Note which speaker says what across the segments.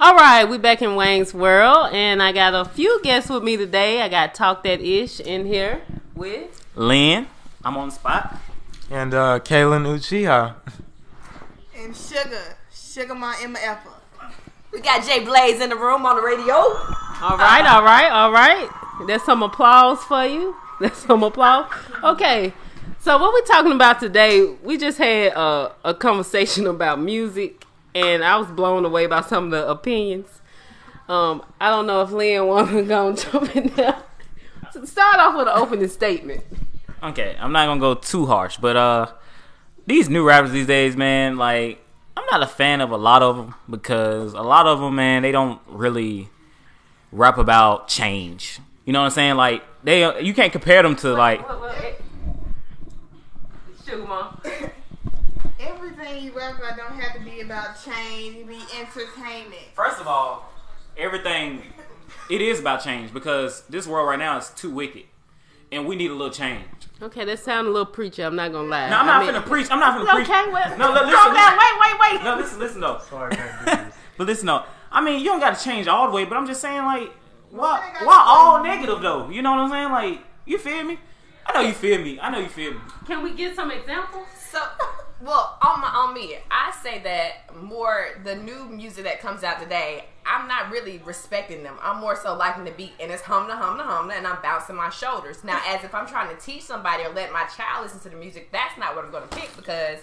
Speaker 1: All right, we back in Wang's world, and I got a few guests with me today. I got Talk That Ish in here with.
Speaker 2: Lynn, I'm on the spot.
Speaker 3: And uh, Kalen Uchiha.
Speaker 4: and Sugar, Sugar My Emma Effa.
Speaker 5: We got Jay Blaze in the room on the radio.
Speaker 1: All right, all right, all right. There's some applause for you. There's some applause. Okay, so what we're talking about today, we just had a, a conversation about music, and I was blown away by some of the opinions. Um, I don't know if Lynn wants to go and jump in there. So Start off with an opening statement.
Speaker 2: Okay, I'm not gonna go too harsh, but uh, these new rappers these days, man, like I'm not a fan of a lot of them because a lot of them, man, they don't really rap about change. You know what I'm saying? Like they, you can't compare them to like.
Speaker 1: Sugar Mom.
Speaker 4: Everything you rap about don't have to be about change, it be entertainment.
Speaker 2: First of all, everything it is about change because this world right now is too wicked, and we need a little change.
Speaker 1: Okay, that sounded a little preachy. I'm not gonna lie.
Speaker 2: No, I'm
Speaker 1: I
Speaker 2: not
Speaker 1: mean-
Speaker 2: gonna preach. I'm not gonna preach.
Speaker 1: Okay, well,
Speaker 2: No, li-
Speaker 1: calm
Speaker 2: listen,
Speaker 1: down.
Speaker 2: listen.
Speaker 1: Wait, wait, wait.
Speaker 2: No, listen, listen though. but listen though. I mean, you don't got to change all the way, but I'm just saying, like, why, why all negative though? You know what I'm saying? Like, you feel me? I know you feel me. I know you feel me.
Speaker 1: Can we get some examples?
Speaker 5: So, well, on my on me, I say that more the new music that comes out today. I'm not really respecting them. I'm more so liking the beat, and it's hum to hum to hum, and I'm bouncing my shoulders. Now, as if I'm trying to teach somebody or let my child listen to the music, that's not what I'm going to pick because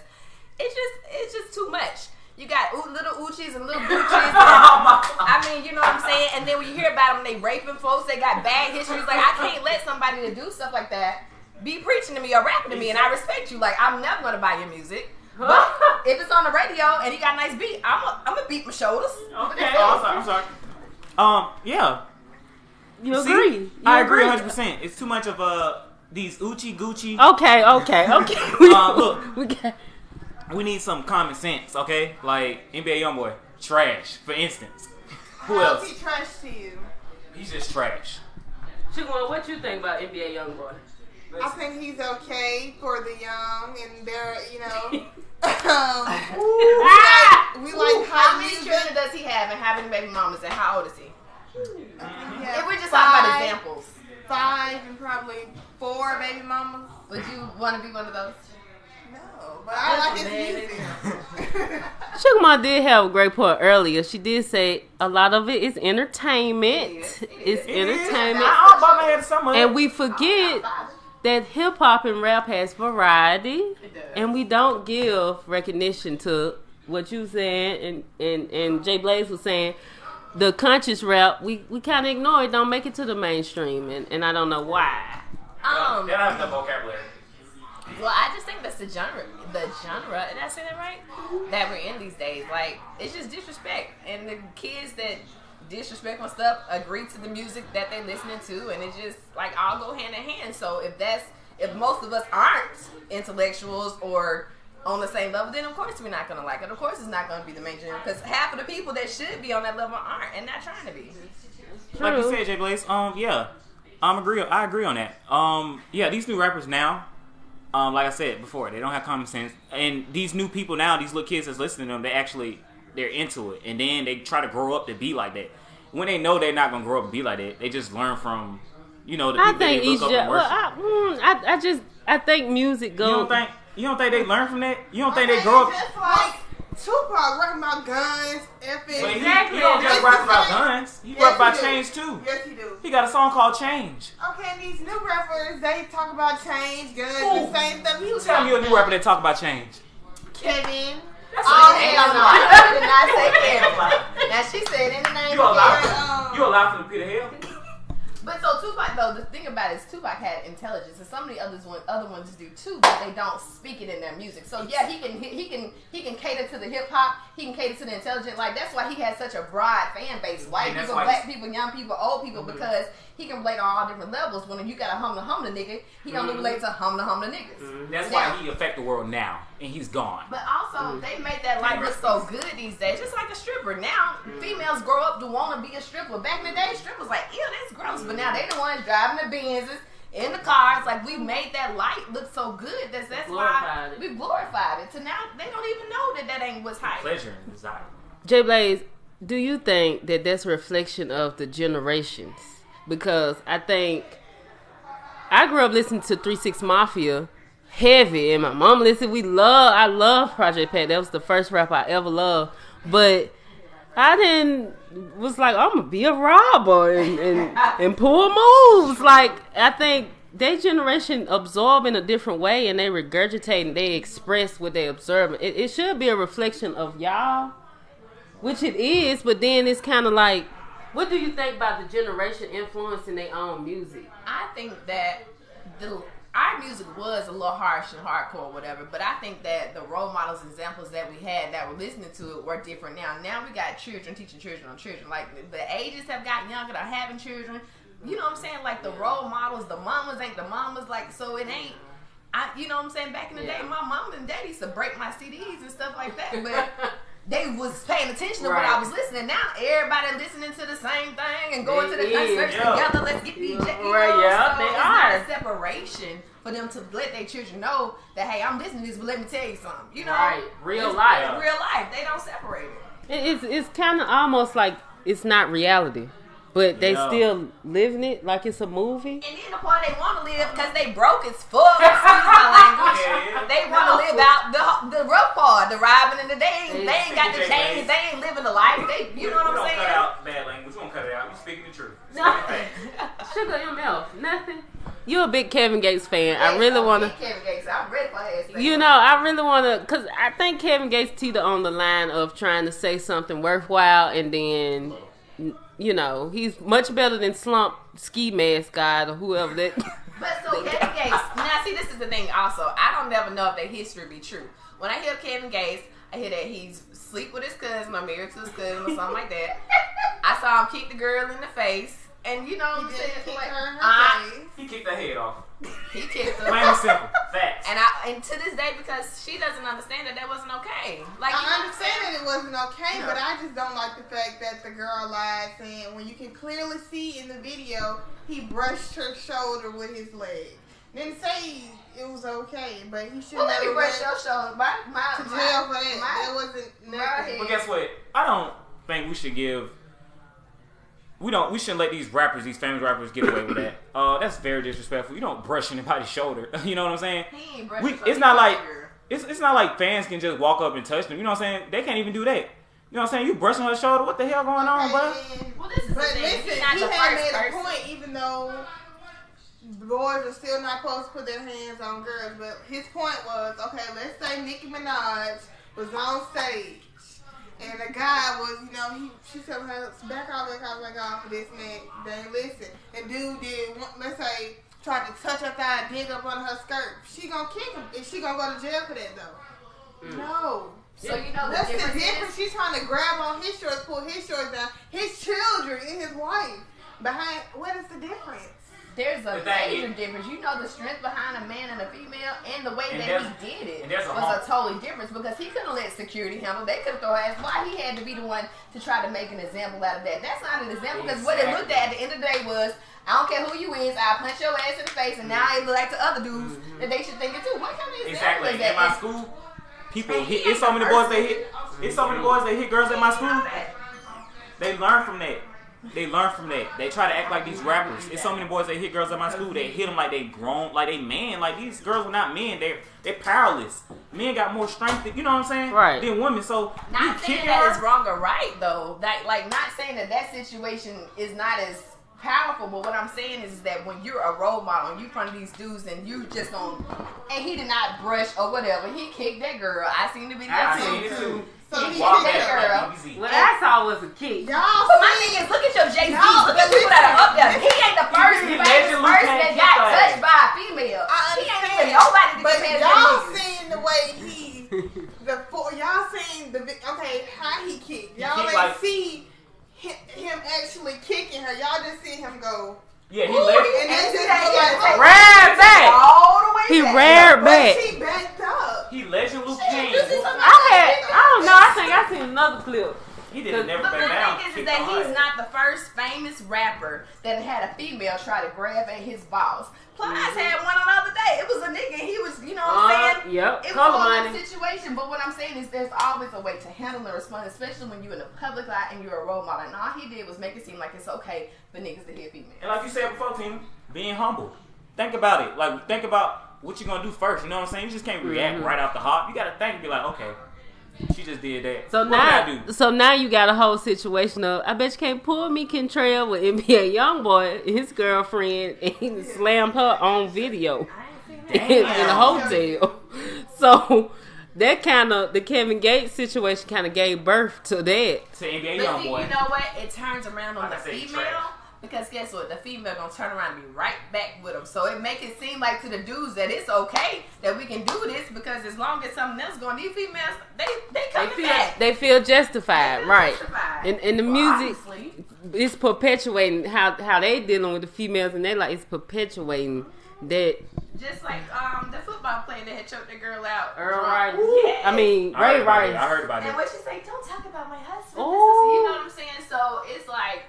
Speaker 5: it's just it's just too much. You got oo- little Uchis and little Gucci's. I mean, you know what I'm saying. And then when you hear about them, they raping folks. They got bad histories. Like I can't let somebody to do stuff like that be preaching to me or rapping to me, and I respect you. Like I'm never gonna buy your music. But if it's on the radio and he got a nice beat, I'm a, I'm gonna beat my shoulders.
Speaker 2: Okay. I'm sorry. Oh, I'm sorry. Um, yeah.
Speaker 1: You
Speaker 2: See?
Speaker 1: agree? You
Speaker 2: I agree 100. percent It's too much of uh these Uchi Gucci.
Speaker 1: Okay, okay, okay. We,
Speaker 2: Uh, look.
Speaker 1: we got.
Speaker 2: We need some common sense, okay? Like NBA YoungBoy, trash, for instance. Who
Speaker 4: He
Speaker 2: else?
Speaker 4: trusts you.
Speaker 2: He's just trash.
Speaker 1: Chigwan, what you think about NBA YoungBoy?
Speaker 4: I think he's okay for the young and they're, you know. um, we like, we like
Speaker 5: Ah! How
Speaker 4: high
Speaker 5: many
Speaker 4: music.
Speaker 5: children does he have, and how many baby mamas, and how old is he?
Speaker 4: Yeah,
Speaker 5: If we're just talking about
Speaker 4: five,
Speaker 5: examples,
Speaker 4: Five and probably four baby mamas.
Speaker 5: would you want to be one of those?
Speaker 4: No, but I like his music.
Speaker 1: Sugarma did have a great point earlier. She did say a lot of it is entertainment. It's
Speaker 2: It is.
Speaker 1: entertainment,
Speaker 2: I all bought my head to someone.
Speaker 1: and we forget that hip hop and rap has variety, and we don't give recognition to what you saying and and and Jay Blaze was saying. The conscious rap, we, we kind of ignore it, don't make it to the mainstream, and, and I don't know why.
Speaker 5: Um,
Speaker 2: They don't have enough vocabulary.
Speaker 5: Well, I just think that's the genre, the genre, and I say that right, that we're in these days. Like, it's just disrespect, and the kids that disrespect my stuff agree to the music that they're listening to, and it just like all go hand in hand. So if that's if most of us aren't intellectuals or on the same level, then of course we're not gonna like it. Of course, it's not gonna be the mainstream because half of the people that should be on that level aren't, and not trying to be.
Speaker 2: Like you
Speaker 1: True.
Speaker 2: said, Jay Blaze. Um, yeah, I'm agree. I agree on that. Um, yeah, these new rappers now. Um, like I said before, they don't have common sense, and these new people now, these little kids that's listening to them, they actually they're into it, and then they try to grow up to be like that. When they know they're not gonna grow up and be like that, they just learn from, you know, the
Speaker 1: I
Speaker 2: people
Speaker 1: think
Speaker 2: they look
Speaker 1: each
Speaker 2: up
Speaker 1: gen-
Speaker 2: and
Speaker 1: well,
Speaker 2: worship.
Speaker 1: I, mm, I, I just I think music
Speaker 2: you
Speaker 1: goes.
Speaker 2: don't think you don't think they learn from that? You don't think they grow up?
Speaker 4: Just like Tupac rapping about guns, effing.
Speaker 2: But he,
Speaker 1: Exactly.
Speaker 2: he don't just rap about guns. He rap about
Speaker 4: he do.
Speaker 2: change too.
Speaker 4: Yes, he do.
Speaker 2: He got a song called Change.
Speaker 4: Okay, and these new rappers, they talk about change, guns,
Speaker 2: Who?
Speaker 4: the same stuff. He was
Speaker 2: Tell me a new rapper that talk about change.
Speaker 4: Kevin.
Speaker 5: Oh hell no! I did not say Kevin. Now she said any name.
Speaker 2: You a
Speaker 5: Kevin.
Speaker 2: lie.
Speaker 4: um,
Speaker 2: You a lie from Peter Hill.
Speaker 5: But so Tupac though, the thing about it is Tupac had intelligence, and some of the others one, other ones do too, but they don't speak it in their music. So yeah, he can he, he can he can cater to the hip hop, he can cater to the intelligent. Like that's why he has such a broad fan base: white
Speaker 2: And that's
Speaker 5: people,
Speaker 2: why Mm-hmm.
Speaker 5: black people, young people, old people, because he can relate on all different levels. When you got a hum to hum to nigga, he only relates to hum to hum to niggas.
Speaker 2: Mm-hmm. That's
Speaker 5: Now-
Speaker 2: why he affect the world now, and he's gone.
Speaker 5: But
Speaker 1: Mm.
Speaker 5: also, they make that life look so good these days. Just like a stripper. Now, females grow up to want to be a stripper. Back in the day, strippers like, ew, that's gross. But now they the ones driving the Benzes in the cars. Like, we made that light look so good. That's, that's why
Speaker 1: Glorified it.
Speaker 5: we glorified it. So now, they don't even know that that ain't what's hype.
Speaker 2: Pleasure and desire.
Speaker 1: Jay Blaze, do you think that that's a reflection of the generations? Because I think I grew up listening to Three Six Mafia heavy, and my mom listened. We love, I love Project Pat. That was the first rap I ever loved. But I didn't was like I'm gonna be a robber and and, and pull moves. Like I think their generation absorb in a different way, and they regurgitate and they express what they observe. It, it should be a reflection of y'all which it is, but then it's kind of like, what do you think about the generation influencing their own music?
Speaker 5: I think that the our music was a little harsh and hardcore, whatever. But I think that the role models, examples that we had that were listening to it were different. Now, now we got children teaching children on children. Like the ages have gotten younger, they're having children. You know what I'm saying? Like the role models, the mamas ain't the mamas. Like so, it ain't. I, you know what I'm saying? Back in the
Speaker 1: Yeah.
Speaker 5: day, my mom and daddy used to break my CDs and stuff like that. But they was paying attention to what
Speaker 1: Right.
Speaker 5: I was listening. Now everybody listening to the same thing and going to
Speaker 1: They
Speaker 5: the
Speaker 1: is,
Speaker 5: concerts
Speaker 2: yeah.
Speaker 5: together. Let's get these.
Speaker 1: Yeah,
Speaker 5: Yeah, you know?
Speaker 1: right, yeah,
Speaker 5: so
Speaker 1: they
Speaker 5: it's not
Speaker 1: are.
Speaker 5: a separation for them to let their children know that hey, I'm listening to this, but let me tell you something. You know,
Speaker 1: Right, real
Speaker 5: It's-
Speaker 1: life.
Speaker 5: it's real life. They don't separate it.
Speaker 1: It- It's it's kind of almost like it's not reality, but they
Speaker 2: Yeah.
Speaker 1: still living it like it's a movie.
Speaker 5: And then the part they want to live because they broke as fuck. Excuse my language.
Speaker 2: Yeah.
Speaker 5: They want to live out the the rough part, the robbing and the they ain't, they ain't got the
Speaker 2: Exactly.
Speaker 5: change. They ain't living the life. They, you know what
Speaker 2: we
Speaker 5: I'm
Speaker 2: don't
Speaker 5: saying?
Speaker 2: cut out bad language. We don't cut it out. We speaking the truth.
Speaker 1: Sugar MF, nothing. You're a big Kevin Gates fan. I really want to.
Speaker 5: I'm ready for her ass.
Speaker 1: You know, I really want to, cause I think Kevin Gates teeter on the line of trying to say something worthwhile, and then, n- you know, he's much better than Slump Ski Mask God or whoever that.
Speaker 5: But so Kevin Gates. Now, see, this is the thing. Also, I don't never know if that history be true. When I hear Kevin Gates, I hear that he's sleep with his cousin, or married to his cousin, or something like that. I saw him kick the girl in the face, and you know what I'm
Speaker 4: He did
Speaker 5: saying?
Speaker 4: kick
Speaker 5: Like,
Speaker 4: her in her
Speaker 5: I-
Speaker 4: face.
Speaker 2: He kicked that head off.
Speaker 5: he kicked her.
Speaker 2: Plain and simple. Facts.
Speaker 5: And I, and to this day, because she doesn't understand that that wasn't okay. Like, you
Speaker 4: I
Speaker 5: know what I'm
Speaker 4: understand
Speaker 5: saying?
Speaker 4: that it wasn't okay,
Speaker 5: Yeah.
Speaker 4: but I just don't like the fact that the girl lied saying when you can clearly see in the video he brushed her shoulder with his leg. Didn't say it was okay, but he should
Speaker 5: Well, let me
Speaker 4: never
Speaker 5: brush
Speaker 4: went
Speaker 5: your shoulders. My, my,
Speaker 4: to
Speaker 5: my,
Speaker 4: jail for that.
Speaker 5: my-
Speaker 4: That wasn't
Speaker 5: my
Speaker 4: nothing.
Speaker 2: But guess what? I don't think we should give. We don't. We shouldn't let these rappers, these famous rappers, get away with that. Uh, that's very disrespectful. You don't brush anybody's shoulder. you know what I'm saying?
Speaker 5: He ain't brushed
Speaker 2: We,
Speaker 5: his
Speaker 2: it's
Speaker 5: shoulder.
Speaker 2: not like it's, it's not like fans can just walk up and touch them. You know what I'm saying? They can't even do that. You know what I'm saying? You brushing her shoulder? What the hell going on, bro?
Speaker 4: And-
Speaker 5: Well, this is the
Speaker 4: But
Speaker 5: thing.
Speaker 4: listen,
Speaker 5: He's
Speaker 4: he
Speaker 5: not
Speaker 4: had
Speaker 5: the first
Speaker 4: made a
Speaker 5: person.
Speaker 4: point, even though boys are still not supposed to put their hands on girls. But his point was, okay, let's say Nicki Minaj was on stage, and the guy was, you know, he she telling her back off, back off, back off for this and that. They ain't listen. And dude did, one- let's say, tried to touch her thigh, dig up under her skirt. She gonna kick him, and she gonna go to jail for that though.
Speaker 5: Mm.
Speaker 4: No.
Speaker 5: So you know
Speaker 4: What's
Speaker 5: the
Speaker 4: the
Speaker 5: difference. is-
Speaker 4: difference? She's trying to grab on his shorts, pull his shorts down. His children and his wife behind. What is the difference?
Speaker 5: There's a
Speaker 2: The thing
Speaker 5: major
Speaker 2: is-
Speaker 5: difference. You know the strength behind a man and a female and the way
Speaker 2: And
Speaker 5: that
Speaker 2: there's-
Speaker 5: he did it
Speaker 2: and there's a
Speaker 5: was
Speaker 2: home.
Speaker 5: a totally difference because he couldn't let security handle. They couldn't throw ass. Why he had to be the one to try to make an example out of that? That's not an example because what it looked at at the end of the day was. I don't care who you is, I punch your ass in the face, and now it look like the other dudes that they should think it too. What kind of
Speaker 2: Mm-hmm. Exactly.
Speaker 5: example is
Speaker 2: In
Speaker 5: that?
Speaker 2: my school, people
Speaker 5: And he
Speaker 2: hit. It's
Speaker 5: ain't
Speaker 2: so
Speaker 5: the
Speaker 2: many boys
Speaker 5: first
Speaker 2: they hit. It's so many boys they hit girls at my school. They learn from that. They learn from that. They try to act like these rappers. It's so many boys that hit girls at my school. They hit them like they grown, like they man. Like these girls were not men. They're they're powerless. Men got more strength. Than, you know what I'm saying?
Speaker 1: Right.
Speaker 2: Than women. So you
Speaker 5: not saying
Speaker 2: kicking
Speaker 5: that
Speaker 2: her.
Speaker 5: it's wrong or right though like like not saying that that situation is not as powerful but what i'm saying is that when you're a role model and you in front of these dudes and you just on and he did not brush or whatever he kicked that girl i seen the video
Speaker 2: I
Speaker 5: too
Speaker 2: seen it too.
Speaker 4: So
Speaker 2: He
Speaker 4: he
Speaker 2: walked
Speaker 4: hit
Speaker 2: back
Speaker 5: her.
Speaker 2: like easy.
Speaker 1: What I saw was a kid.
Speaker 4: Y'all
Speaker 5: but my
Speaker 4: see?
Speaker 5: thing is, look at your Jay Z.
Speaker 4: No,
Speaker 5: look at people that are up there. He ain't the first
Speaker 2: He
Speaker 5: famous
Speaker 2: allegedly
Speaker 5: person that
Speaker 2: can't
Speaker 5: got
Speaker 2: kick
Speaker 5: touched
Speaker 2: ass.
Speaker 5: by a female.
Speaker 4: I
Speaker 5: He ain't even
Speaker 4: understand,
Speaker 5: nobody to
Speaker 4: But
Speaker 5: compare to
Speaker 4: y'all
Speaker 5: him.
Speaker 4: seeing the way he, the four, y'all seeing the vi- okay how he kicked. Y'all
Speaker 2: kicked
Speaker 4: ain't
Speaker 2: like-
Speaker 4: see him, him actually kicking her. Y'all just see him go.
Speaker 2: Yeah, he
Speaker 5: Ooh,
Speaker 2: left.
Speaker 5: he-
Speaker 4: And that's
Speaker 5: he
Speaker 4: just
Speaker 5: had- he had
Speaker 4: like-
Speaker 5: to take
Speaker 1: Ran
Speaker 5: it
Speaker 1: back.
Speaker 5: All the way
Speaker 1: He
Speaker 5: back.
Speaker 1: ran back.
Speaker 4: But she backed up.
Speaker 2: He legend Luke
Speaker 5: Shit,
Speaker 2: Kane.
Speaker 5: this is somebody-
Speaker 1: I had, I don't know, I think I seen another clip
Speaker 2: He didn't never
Speaker 5: But
Speaker 2: back
Speaker 5: the
Speaker 2: down.
Speaker 5: thing is, is
Speaker 2: Kicked
Speaker 5: that
Speaker 2: her
Speaker 5: he's
Speaker 2: ass.
Speaker 5: not the first famous rapper that had a female try to grab at his balls. Plies had one on the other day. It was a nigga. He was, you know what I'm
Speaker 1: Uh,
Speaker 5: saying?
Speaker 1: yep.
Speaker 5: It was
Speaker 1: Color
Speaker 5: all in
Speaker 1: money.
Speaker 5: the situation. But what I'm saying is there's always a way to handle and respond, especially when you're in the public eye and you're a role model. And all he did was make it seem like it's okay for niggas to hit
Speaker 2: And
Speaker 5: females.
Speaker 2: like you said before, Tina, being humble. Think about it. Like think about what you're gonna do first. You know what I'm saying? You just can't react
Speaker 1: Mm-hmm.
Speaker 2: right off the hop. You gotta think. and Be like, okay, she just did that.
Speaker 1: So
Speaker 2: what did I
Speaker 1: now,
Speaker 2: do?
Speaker 1: so now you got a whole situation of I bet you can't pull me Kentrell with NBA YoungBoy, his girlfriend, and he slammed her on video
Speaker 5: I ain't seen
Speaker 1: in,
Speaker 5: that.
Speaker 1: in a hotel. So that kind of the Kevin Gates situation kind of gave birth to that.
Speaker 2: To NBA
Speaker 5: But
Speaker 2: young
Speaker 5: see,
Speaker 2: boy.
Speaker 5: you know what? It turns around on
Speaker 2: Like I
Speaker 5: the
Speaker 2: said, he
Speaker 5: female
Speaker 2: trash.
Speaker 5: because guess what? The female gonna turn around and be right back with him. So it make it seem like to the dudes that it's okay that we can do this because as long as something else going, these females they they
Speaker 1: They
Speaker 5: coming
Speaker 1: feel
Speaker 5: back.
Speaker 1: they feel justified,
Speaker 5: They're
Speaker 1: right?
Speaker 5: justified.
Speaker 1: And and the
Speaker 5: Well,
Speaker 1: music
Speaker 5: obviously.
Speaker 1: it's perpetuating how how they dealing with the females, and they like it's perpetuating that.
Speaker 5: just like um the football player that had choked the girl out.
Speaker 1: Earl
Speaker 5: drunk.
Speaker 1: Rice.
Speaker 5: Yes.
Speaker 1: I mean,
Speaker 2: I heard
Speaker 1: Ray
Speaker 2: about that. I
Speaker 1: Rice.
Speaker 2: heard about
Speaker 5: and
Speaker 2: that.
Speaker 5: what you say? Don't talk about my husband. This is-
Speaker 1: Ooh.
Speaker 5: you know what I'm saying? So it's like,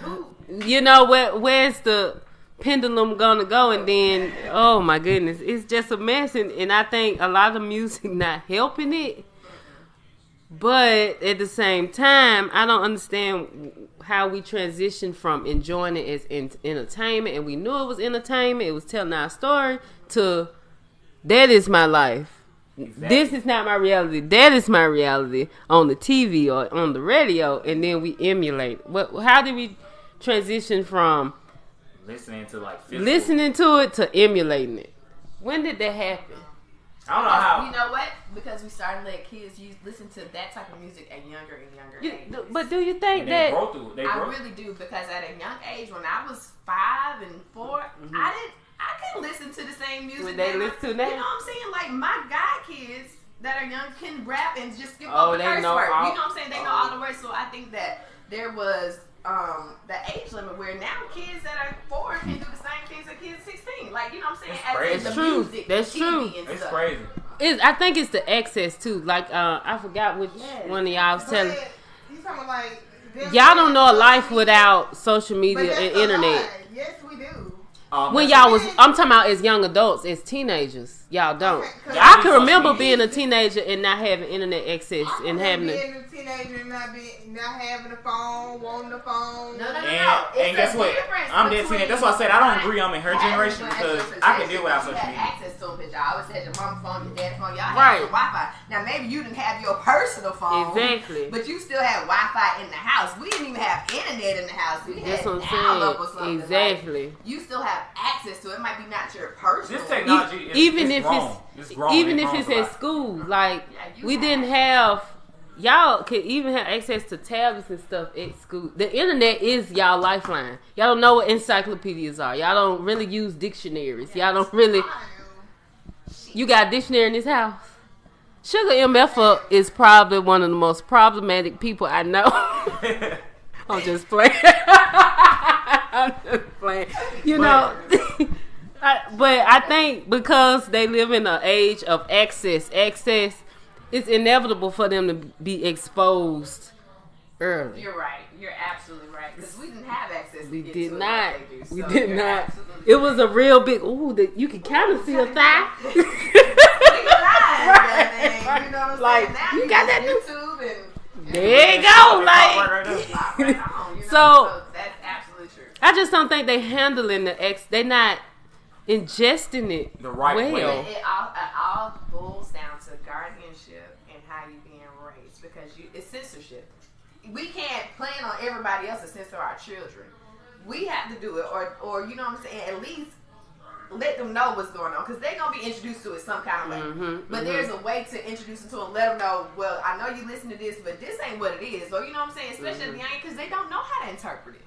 Speaker 5: who?
Speaker 1: you know where where's the pendulum gonna go and then oh my goodness it's just a mess and, and i think a lot of music not helping it but at the same time i don't understand how we transitioned from enjoying it as en- entertainment and we knew it was entertainment it was telling our story to that is my life this is not my reality. That is my reality on the TV or on the radio, and then we emulate. What? How did we transition from
Speaker 2: Listening to like physical.
Speaker 1: listening to it to emulating it? When did that happen?
Speaker 2: I don't know how.
Speaker 5: You know what? Because we started letting kids use listen to that type of music at younger and younger ages.
Speaker 1: You- but do you think
Speaker 2: And they
Speaker 1: that?
Speaker 2: broke through. They
Speaker 5: I
Speaker 2: broke.
Speaker 5: really do because at a young age, when I was five and 4 I didn't, I couldn't listen to the same music.
Speaker 1: Would Mm-hmm. they
Speaker 5: that
Speaker 1: listen to
Speaker 5: my,
Speaker 1: that?
Speaker 5: You know what I'm saying? Like my god kids that are young can rap and just skip
Speaker 1: Oh,
Speaker 5: over
Speaker 1: they
Speaker 5: curse
Speaker 1: know
Speaker 5: words.
Speaker 1: all-
Speaker 5: you know what I'm saying? They know all the words. So I think that there was um the age limit where now kids that are four can do the same things that kids 16. Like you know what I'm saying?
Speaker 2: That's
Speaker 5: As in
Speaker 2: crazy.
Speaker 5: the
Speaker 1: That's true. That's
Speaker 5: music, TV
Speaker 1: true.
Speaker 5: and
Speaker 2: It's
Speaker 5: stuff.
Speaker 2: crazy.
Speaker 1: It's, I think it's the excess too. Like uh, I forgot which
Speaker 5: Yes.
Speaker 1: one of y'all was telling.
Speaker 4: But You talking about like them-
Speaker 1: Y'all don't know a life without social
Speaker 4: But
Speaker 1: media
Speaker 4: that's
Speaker 1: and
Speaker 4: a
Speaker 1: internet.
Speaker 4: lie. Yes, we do.
Speaker 2: Um,
Speaker 1: When y'all was, I'm talking about as young adults, as teenagers, y'all don't.
Speaker 4: Okay.
Speaker 1: I can remember being a teenager and not having internet access and having it.
Speaker 4: being a teenager and not being not having a phone, wanting a phone.
Speaker 5: No, no,
Speaker 2: And,
Speaker 5: no, no. It's
Speaker 2: and
Speaker 5: a
Speaker 2: guess what?
Speaker 5: difference
Speaker 2: I'm dead seeing it. That's why I said I don't agree. I'm in her
Speaker 5: Yeah,
Speaker 2: generation
Speaker 5: but
Speaker 2: because
Speaker 5: that's your
Speaker 2: I can
Speaker 5: possession,
Speaker 2: deal without
Speaker 5: but you
Speaker 2: social
Speaker 5: had
Speaker 2: media.
Speaker 5: access to them, bitch. I always had your mom's phone, your dad's phone, y'all had
Speaker 1: Right.
Speaker 5: your Wi-Fi. Now maybe you didn't have your personal phone,
Speaker 1: Exactly.
Speaker 5: but you still had Wi-Fi in the house. We didn't even have internet in the house. We
Speaker 1: That's
Speaker 5: had
Speaker 1: what
Speaker 5: dial-up
Speaker 1: I'm
Speaker 5: or something.
Speaker 1: saying.
Speaker 5: Like,
Speaker 1: Exactly. E-,
Speaker 5: you still have access to it. It might be not your personal.
Speaker 2: This technology
Speaker 1: E-
Speaker 2: is
Speaker 1: even
Speaker 2: it's
Speaker 1: if
Speaker 2: grown.
Speaker 1: it's,
Speaker 2: grown.
Speaker 1: even
Speaker 2: It
Speaker 1: if
Speaker 2: grown
Speaker 1: it's
Speaker 2: a
Speaker 1: at
Speaker 2: lot.
Speaker 1: school, like
Speaker 5: Yeah, you
Speaker 1: we
Speaker 5: have-
Speaker 1: didn't have y'all could even have access to tablets and stuff at school. The internet is y'all lifeline. Y'all don't know what encyclopedias are. Y'all don't really use dictionaries. Y'all don't really. You got a dictionary in this house. Sugar MF is probably one of the most problematic people I know. I'm just playing. I'm just playing. You know, I, but I think because they live in an age of excess, excess, it's inevitable for them to be exposed early.
Speaker 5: You're right. You're absolutely right. Because we didn't have access.
Speaker 1: We
Speaker 5: to get
Speaker 1: did
Speaker 5: to
Speaker 1: not.
Speaker 5: It like they do.
Speaker 1: We
Speaker 5: So
Speaker 1: did
Speaker 5: you're
Speaker 1: not.
Speaker 5: absolutely
Speaker 1: It was a real big. Ooh, that you could kind of see a thigh.
Speaker 5: Legalize that thing, You know what I'm
Speaker 1: Like,
Speaker 5: saying? Now
Speaker 1: you got
Speaker 5: use
Speaker 1: that new-
Speaker 5: YouTube and.
Speaker 1: There you go,
Speaker 2: Right, right,
Speaker 1: Oh, like.
Speaker 2: right.
Speaker 5: Right on, you know?
Speaker 1: So-
Speaker 5: so that's absolutely true.
Speaker 1: I just don't think they handling the ex. They not ingesting it
Speaker 2: The right way.
Speaker 1: well.
Speaker 5: But it all, it all boils down to guardianship and how you being raised because you it's censorship. We can't plan on everybody else to censor our children. We have to do it, or or you know what I'm saying. At least let them know what's going on because they're gonna be introduced to it some kind of way. but there's a way to introduce them to it and let them know. Well, I know you listen to this, but this ain't what it is. Or you know what I'm saying, especially at the young because they don't know how to interpret it.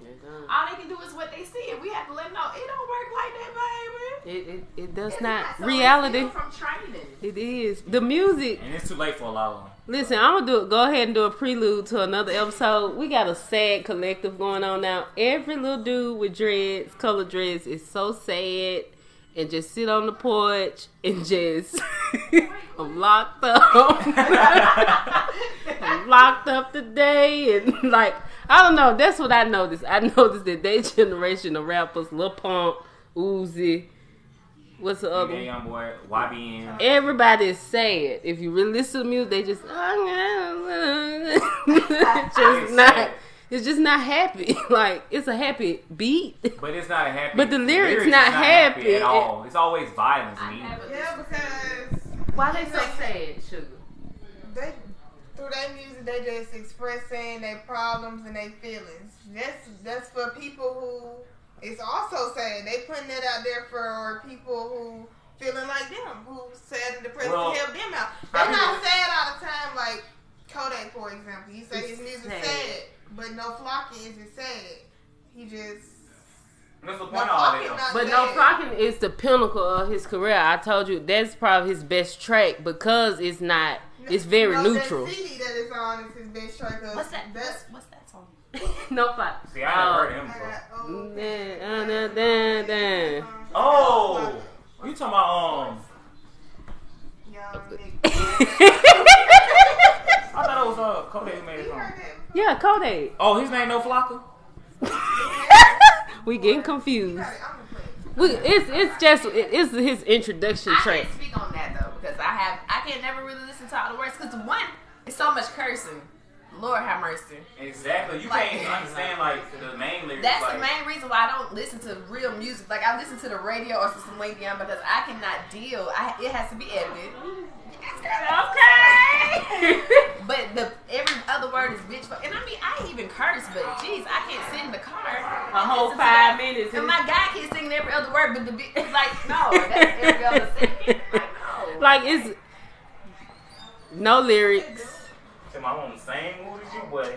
Speaker 5: All they can do is what they see, and we have to let them know it don't work like that, baby.
Speaker 1: It, it, it does
Speaker 5: It's
Speaker 1: not
Speaker 5: something you
Speaker 1: reality.
Speaker 5: steal From training.
Speaker 1: It is the music.
Speaker 2: And it's too late for a lot of them.
Speaker 1: Listen, I'm gonna do go ahead and do a prelude to another episode. We got a sad collective going on now. Every little dude with dreads, color dreads, is so sad and just sit on the porch and just I'm locked up. I'm locked up today, and like I don't know. That's what I noticed. I noticed that they generation of rappers, Lil Pump, Uzi, what's the other?
Speaker 2: Nigga,
Speaker 1: one?
Speaker 2: young boy, YBN.
Speaker 1: Everybody is sad. If you really listen to music, they just just not.
Speaker 2: sad.
Speaker 1: It's just not happy. Like it's a happy beat.
Speaker 2: But it's not happy.
Speaker 1: But the lyrics
Speaker 2: is
Speaker 1: not happy.
Speaker 2: at all. It's always violence.
Speaker 5: I
Speaker 2: me.
Speaker 5: never
Speaker 4: Yeah,
Speaker 5: listened.
Speaker 4: because
Speaker 1: Why they so sad, sugar?
Speaker 4: they through their music they just expressing their problems and their feelings. That's that's for people who it's also sad. They putting that out there for people who feeling like them, who sad and depressed
Speaker 2: Well,
Speaker 4: to help them out.
Speaker 2: I
Speaker 4: They're
Speaker 2: mean-
Speaker 4: not sad all the time like Kodak for example. He say his
Speaker 1: It's
Speaker 4: music
Speaker 1: sad.
Speaker 4: sad. but no flocking isn't sad. He just
Speaker 2: That's the
Speaker 4: no
Speaker 2: point of all
Speaker 4: flocking
Speaker 2: that.
Speaker 4: not
Speaker 2: though.
Speaker 1: But
Speaker 4: sad.
Speaker 1: no flocking is the pinnacle of his career. I told you that's probably his best track because it's not. It's very
Speaker 4: no,
Speaker 1: neutral.
Speaker 4: That CD that is on is his best track. of-
Speaker 5: What's that?
Speaker 4: That's
Speaker 5: What's, what's that song?
Speaker 1: no flocking.
Speaker 2: See, I never heard
Speaker 5: Oh.
Speaker 2: of him
Speaker 4: I
Speaker 2: before.
Speaker 4: got old.
Speaker 1: Da-da-da-da.
Speaker 2: Oh, you talking about um?
Speaker 4: Y'all
Speaker 1: Oh.
Speaker 2: I thought it was uh Kodak who made it song.
Speaker 1: yeah, Kodak.
Speaker 2: Oh, his name No Flocka.
Speaker 1: We getting confused. We, it's it's just it- it's his introduction
Speaker 5: I
Speaker 1: track.
Speaker 5: can't speak on that though because I have I can never really listen to all the words because one, it's so much cursing. Lord have mercy.
Speaker 2: Exactly. You
Speaker 5: Like-
Speaker 2: can't understand like the main lyrics.
Speaker 5: That's
Speaker 2: like,
Speaker 5: the main reason why I don't listen to real music. Like I listen to the radio or some Celine Dion because I cannot deal. I, it has to be edited. Okay. but the every other word is bitch. Fuck. And I mean, I even curse, but jeez, I can't sit in the car.
Speaker 1: A whole five minutes.
Speaker 5: And my guy keeps singing every other word, but the bitch is like, no, that's every other sentence. Like, no.
Speaker 1: Like it's no lyrics,
Speaker 2: Tim, I'm on the same mood as you, buddy.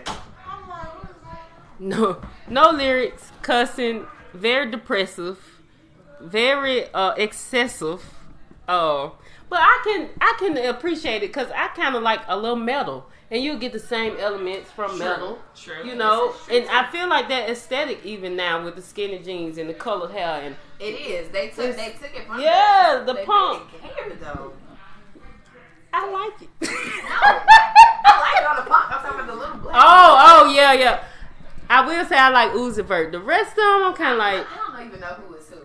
Speaker 1: no no lyrics, cussing, very depressive, very uh excessive. Oh, but I can I can appreciate it because I kind of like a little metal, and you'll get the same elements from metal.
Speaker 5: True.
Speaker 1: You know, and I feel like that aesthetic even now with the skinny jeans and the colored hair and
Speaker 5: It is. They took. They took it from.
Speaker 1: Yeah,
Speaker 5: us.
Speaker 1: the
Speaker 5: They
Speaker 1: punk.
Speaker 5: Really care, though.
Speaker 1: I like it.
Speaker 5: No, I like it on the punk. I'm talking about the little black.
Speaker 1: oh, oh yeah, yeah. I will say I like Uzi Vert. The rest of them, I'm kind of like
Speaker 5: I don't even know who is who. to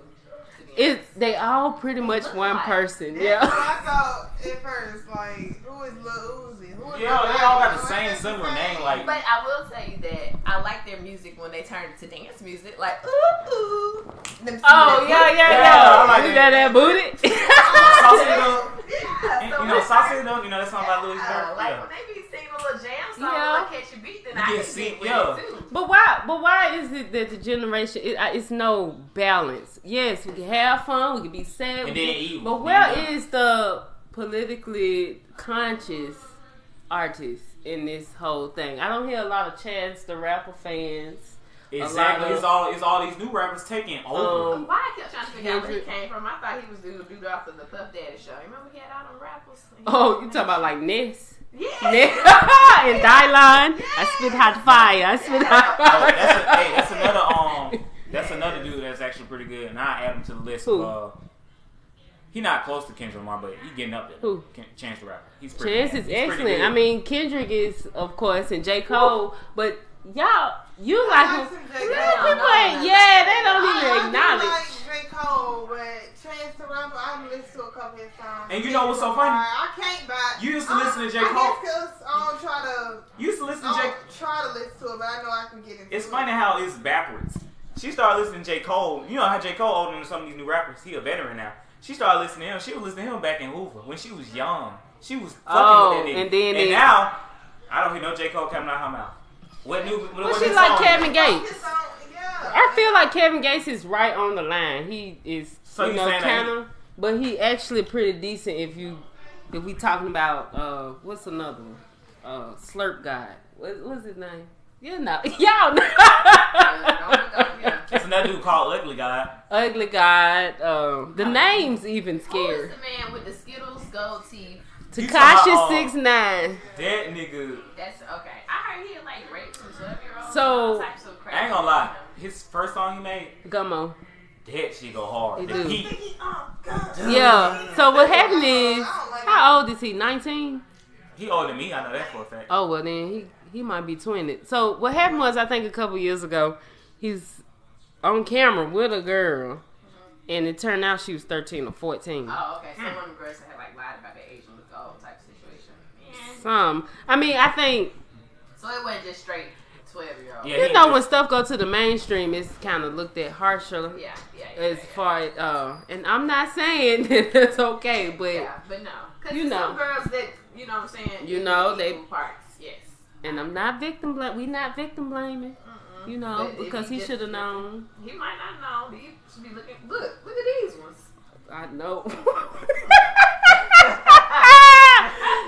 Speaker 5: be
Speaker 1: it's they all pretty much one person. Yeah.
Speaker 4: I thought at first, like, who is Lil Uzi? Who is
Speaker 2: Yeah, they
Speaker 4: Lil
Speaker 2: all got
Speaker 4: Uzi?
Speaker 2: the same
Speaker 4: Who is
Speaker 2: similar
Speaker 4: the
Speaker 2: name.
Speaker 4: same?
Speaker 2: Like,
Speaker 5: But I will tell you that I like their music when they turn it to dance music, like ooh ooh. Them-
Speaker 1: Oh
Speaker 5: them-
Speaker 1: yeah, yeah,
Speaker 2: Yeah,
Speaker 1: yeah.
Speaker 2: I like
Speaker 1: you got that
Speaker 2: that.
Speaker 1: booty.
Speaker 2: Saucy Dog.
Speaker 5: Yeah, so
Speaker 2: You know,
Speaker 5: when-
Speaker 2: Saucy Dog. You know that song by Louis
Speaker 5: uh,
Speaker 2: Vert.
Speaker 5: like when
Speaker 2: Yeah.
Speaker 5: they be singing a little jam song,
Speaker 1: Yeah.
Speaker 5: yeah. like catch your beat, then I
Speaker 2: You
Speaker 5: can
Speaker 2: get
Speaker 5: get
Speaker 2: sick,
Speaker 5: with
Speaker 2: yeah.
Speaker 5: it too.
Speaker 1: But why? But why is it that the generation? It, uh, it's no balance. Yes, we can have fun. We can be sad. we
Speaker 2: And then
Speaker 1: can-
Speaker 2: evil.
Speaker 1: But where is
Speaker 2: Yeah.
Speaker 1: the politically conscious artist in this whole thing? I don't hear a lot of Chance the Rapper fans.
Speaker 2: Exactly.
Speaker 1: of-
Speaker 2: It's all. It's all these new rappers taking over.
Speaker 1: Um,
Speaker 5: Why I kept trying to figure out where he
Speaker 1: Kendrick.
Speaker 5: came from. I thought he was dude dude off of the Puff Daddy show. Remember he had all them rappers?
Speaker 1: Oh, you talking about like Ness?
Speaker 5: Yeah.
Speaker 1: Ness and Dylan. I spit hot fire. I spit hot
Speaker 2: Oh,
Speaker 1: fire.
Speaker 2: that's a, hey, that's another um. That's another dude that's actually pretty good, and I add him to the list.
Speaker 1: Who?
Speaker 2: Of, uh, he not close to Kendrick Lamar, but he getting up there.
Speaker 1: Who?
Speaker 2: Ken- Chance the Rapper. He's pretty.
Speaker 1: Chance
Speaker 2: good.
Speaker 1: is
Speaker 2: He's pretty
Speaker 1: excellent.
Speaker 2: good.
Speaker 1: I mean, Kendrick is, of course, and J. Cole, but y'all, you
Speaker 4: I
Speaker 1: like
Speaker 4: like
Speaker 1: him.
Speaker 4: some J.
Speaker 1: People
Speaker 4: Cole.
Speaker 1: ain't, yeah, they don't
Speaker 4: I- I
Speaker 1: even
Speaker 4: do
Speaker 1: acknowledge.
Speaker 4: like J. Cole, but Chance the Rapper, I've listened to a couple of his songs.
Speaker 2: And you know what's so funny?
Speaker 4: I can't buy.
Speaker 2: You used to listen to J.
Speaker 4: I,
Speaker 2: Cole.
Speaker 4: I guess 'cause I don't try to.
Speaker 2: You used to listen to
Speaker 4: I
Speaker 2: J.
Speaker 4: don't try to listen to it, but I know I can get into
Speaker 2: It's
Speaker 4: it.
Speaker 2: funny how it's backwards. She started listening to J. Cole. You know how J. Cole older than some of these new rappers. He a veteran now. She started listening to him. She was listening to him back in Hoover when she was young. She was fucking
Speaker 1: Oh,
Speaker 2: with that nigga.
Speaker 1: and then
Speaker 2: and
Speaker 1: it-
Speaker 2: now I don't hear no J. Cole coming out her mouth. What new? What,
Speaker 1: Well,
Speaker 2: what
Speaker 1: she
Speaker 2: new
Speaker 1: like
Speaker 2: song?
Speaker 1: Kevin
Speaker 4: Focus
Speaker 1: Gates.
Speaker 4: on- yeah.
Speaker 1: I feel like Kevin Gates is right on the line. He is,
Speaker 2: So
Speaker 1: you
Speaker 2: you
Speaker 1: know,
Speaker 2: saying that
Speaker 1: kind of, but he actually pretty decent. If you, if we talking about uh, what's another one? Uh, Slurp God. What, what's his name? You know, y'all know.
Speaker 2: It's another dude called Ugly Guy.
Speaker 1: Ugly God. Um, the names even
Speaker 5: Who is
Speaker 1: scary.
Speaker 5: the man with the Skittles gold teeth?
Speaker 2: You talking about,
Speaker 1: Takashi
Speaker 2: uh,
Speaker 1: six nine.
Speaker 2: That nigga.
Speaker 5: That's okay. I heard he like raped some twelve year olds.
Speaker 1: So-
Speaker 5: types of crap.
Speaker 2: I ain't gonna lie. His first song he made,
Speaker 1: Gummo.
Speaker 2: that she go hard.
Speaker 1: It
Speaker 2: The
Speaker 1: do.
Speaker 2: heat.
Speaker 4: Oh, God.
Speaker 1: Yeah. So what happened is,
Speaker 4: I don't like
Speaker 1: how old is he? Nineteen.
Speaker 2: He older than me. I know that for a fact.
Speaker 1: Oh well, then he he might be twinning. So what happened was, I think a couple years ago, he's on camera with a girl, and it turned out she was thirteen or fourteen.
Speaker 5: Oh, okay. Someone in Grayson had like lied about their age and looked old type situation.
Speaker 1: Some, I mean, I think
Speaker 5: So it wasn't just straight twelve year old.
Speaker 2: Yeah,
Speaker 1: you know when stuff go to the mainstream, it's kind of looked at harsher.
Speaker 5: Yeah, yeah, yeah.
Speaker 1: As
Speaker 5: yeah.
Speaker 1: far as, uh, and I'm not saying that it's okay, but
Speaker 5: Yeah, but no. Cause
Speaker 1: You
Speaker 5: there's
Speaker 1: know.
Speaker 5: some girls that you know what I'm saying.
Speaker 1: You know,
Speaker 5: equal
Speaker 1: they-
Speaker 5: parts. Yes.
Speaker 1: and I'm not victim blaming. We not victim blaming, you know,
Speaker 5: Uh-uh. But if
Speaker 1: because
Speaker 5: he
Speaker 1: he
Speaker 5: just-
Speaker 1: should have known.
Speaker 5: He might not know. He should be looking. Look, look at these ones.
Speaker 1: I know.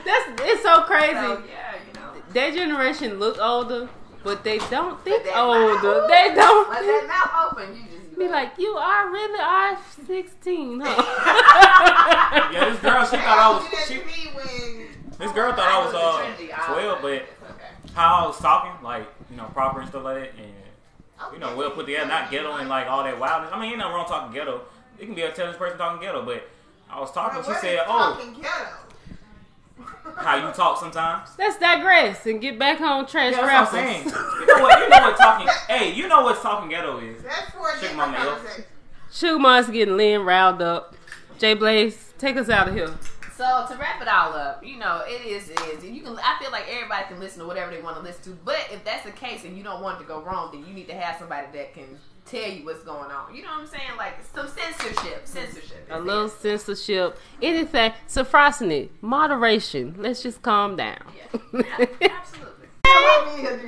Speaker 1: That's it's so crazy.
Speaker 5: So yeah, you know.
Speaker 1: Their generation look older, but they don't think
Speaker 5: they-
Speaker 1: older. They don't
Speaker 5: Let
Speaker 1: think-
Speaker 5: that mouth open. You just
Speaker 1: be
Speaker 5: go.
Speaker 1: like you are really are sixteen, huh?
Speaker 2: Yeah, this girl, she
Speaker 4: They
Speaker 2: thought I
Speaker 4: always do
Speaker 2: was.
Speaker 4: that
Speaker 2: She,
Speaker 4: to me when
Speaker 2: this girl thought I was
Speaker 5: It was a trendy
Speaker 2: uh
Speaker 5: eye.
Speaker 2: twelve, but
Speaker 5: It's okay.
Speaker 2: how I was talking, like you know, proper and stuff like that, and you know, well put together, not ghetto and like all that wildness. I mean, ain't nothing wrong talking ghetto. It can be a intelligent person talking ghetto, but I was talking. She said, "Oh,
Speaker 4: Talking ghetto.
Speaker 2: how you talk sometimes."
Speaker 1: Let's digress and get back on trash
Speaker 2: Yeah, that's
Speaker 1: rappers.
Speaker 2: what I'm saying. You know what? You know what talking. Hey, you know what talking ghetto is.
Speaker 4: That's for a
Speaker 2: Check my
Speaker 4: different
Speaker 2: mail.
Speaker 4: conversation.
Speaker 1: Schumacher's getting Lynn riled up. Jay Blaze, take us out of here.
Speaker 5: So to wrap it all up, you know, it is it is. And you can I feel like everybody can listen to whatever they want to listen to. But if that's the case and you don't want it to go wrong, then you need to have somebody that can tell you what's going on. You know what I'm saying? Like some censorship. Censorship.
Speaker 1: A
Speaker 5: is
Speaker 1: little
Speaker 5: it.
Speaker 1: censorship, anything, sophrosity, moderation. Let's just calm down.
Speaker 5: Yeah. Absolutely.
Speaker 4: Come on, me,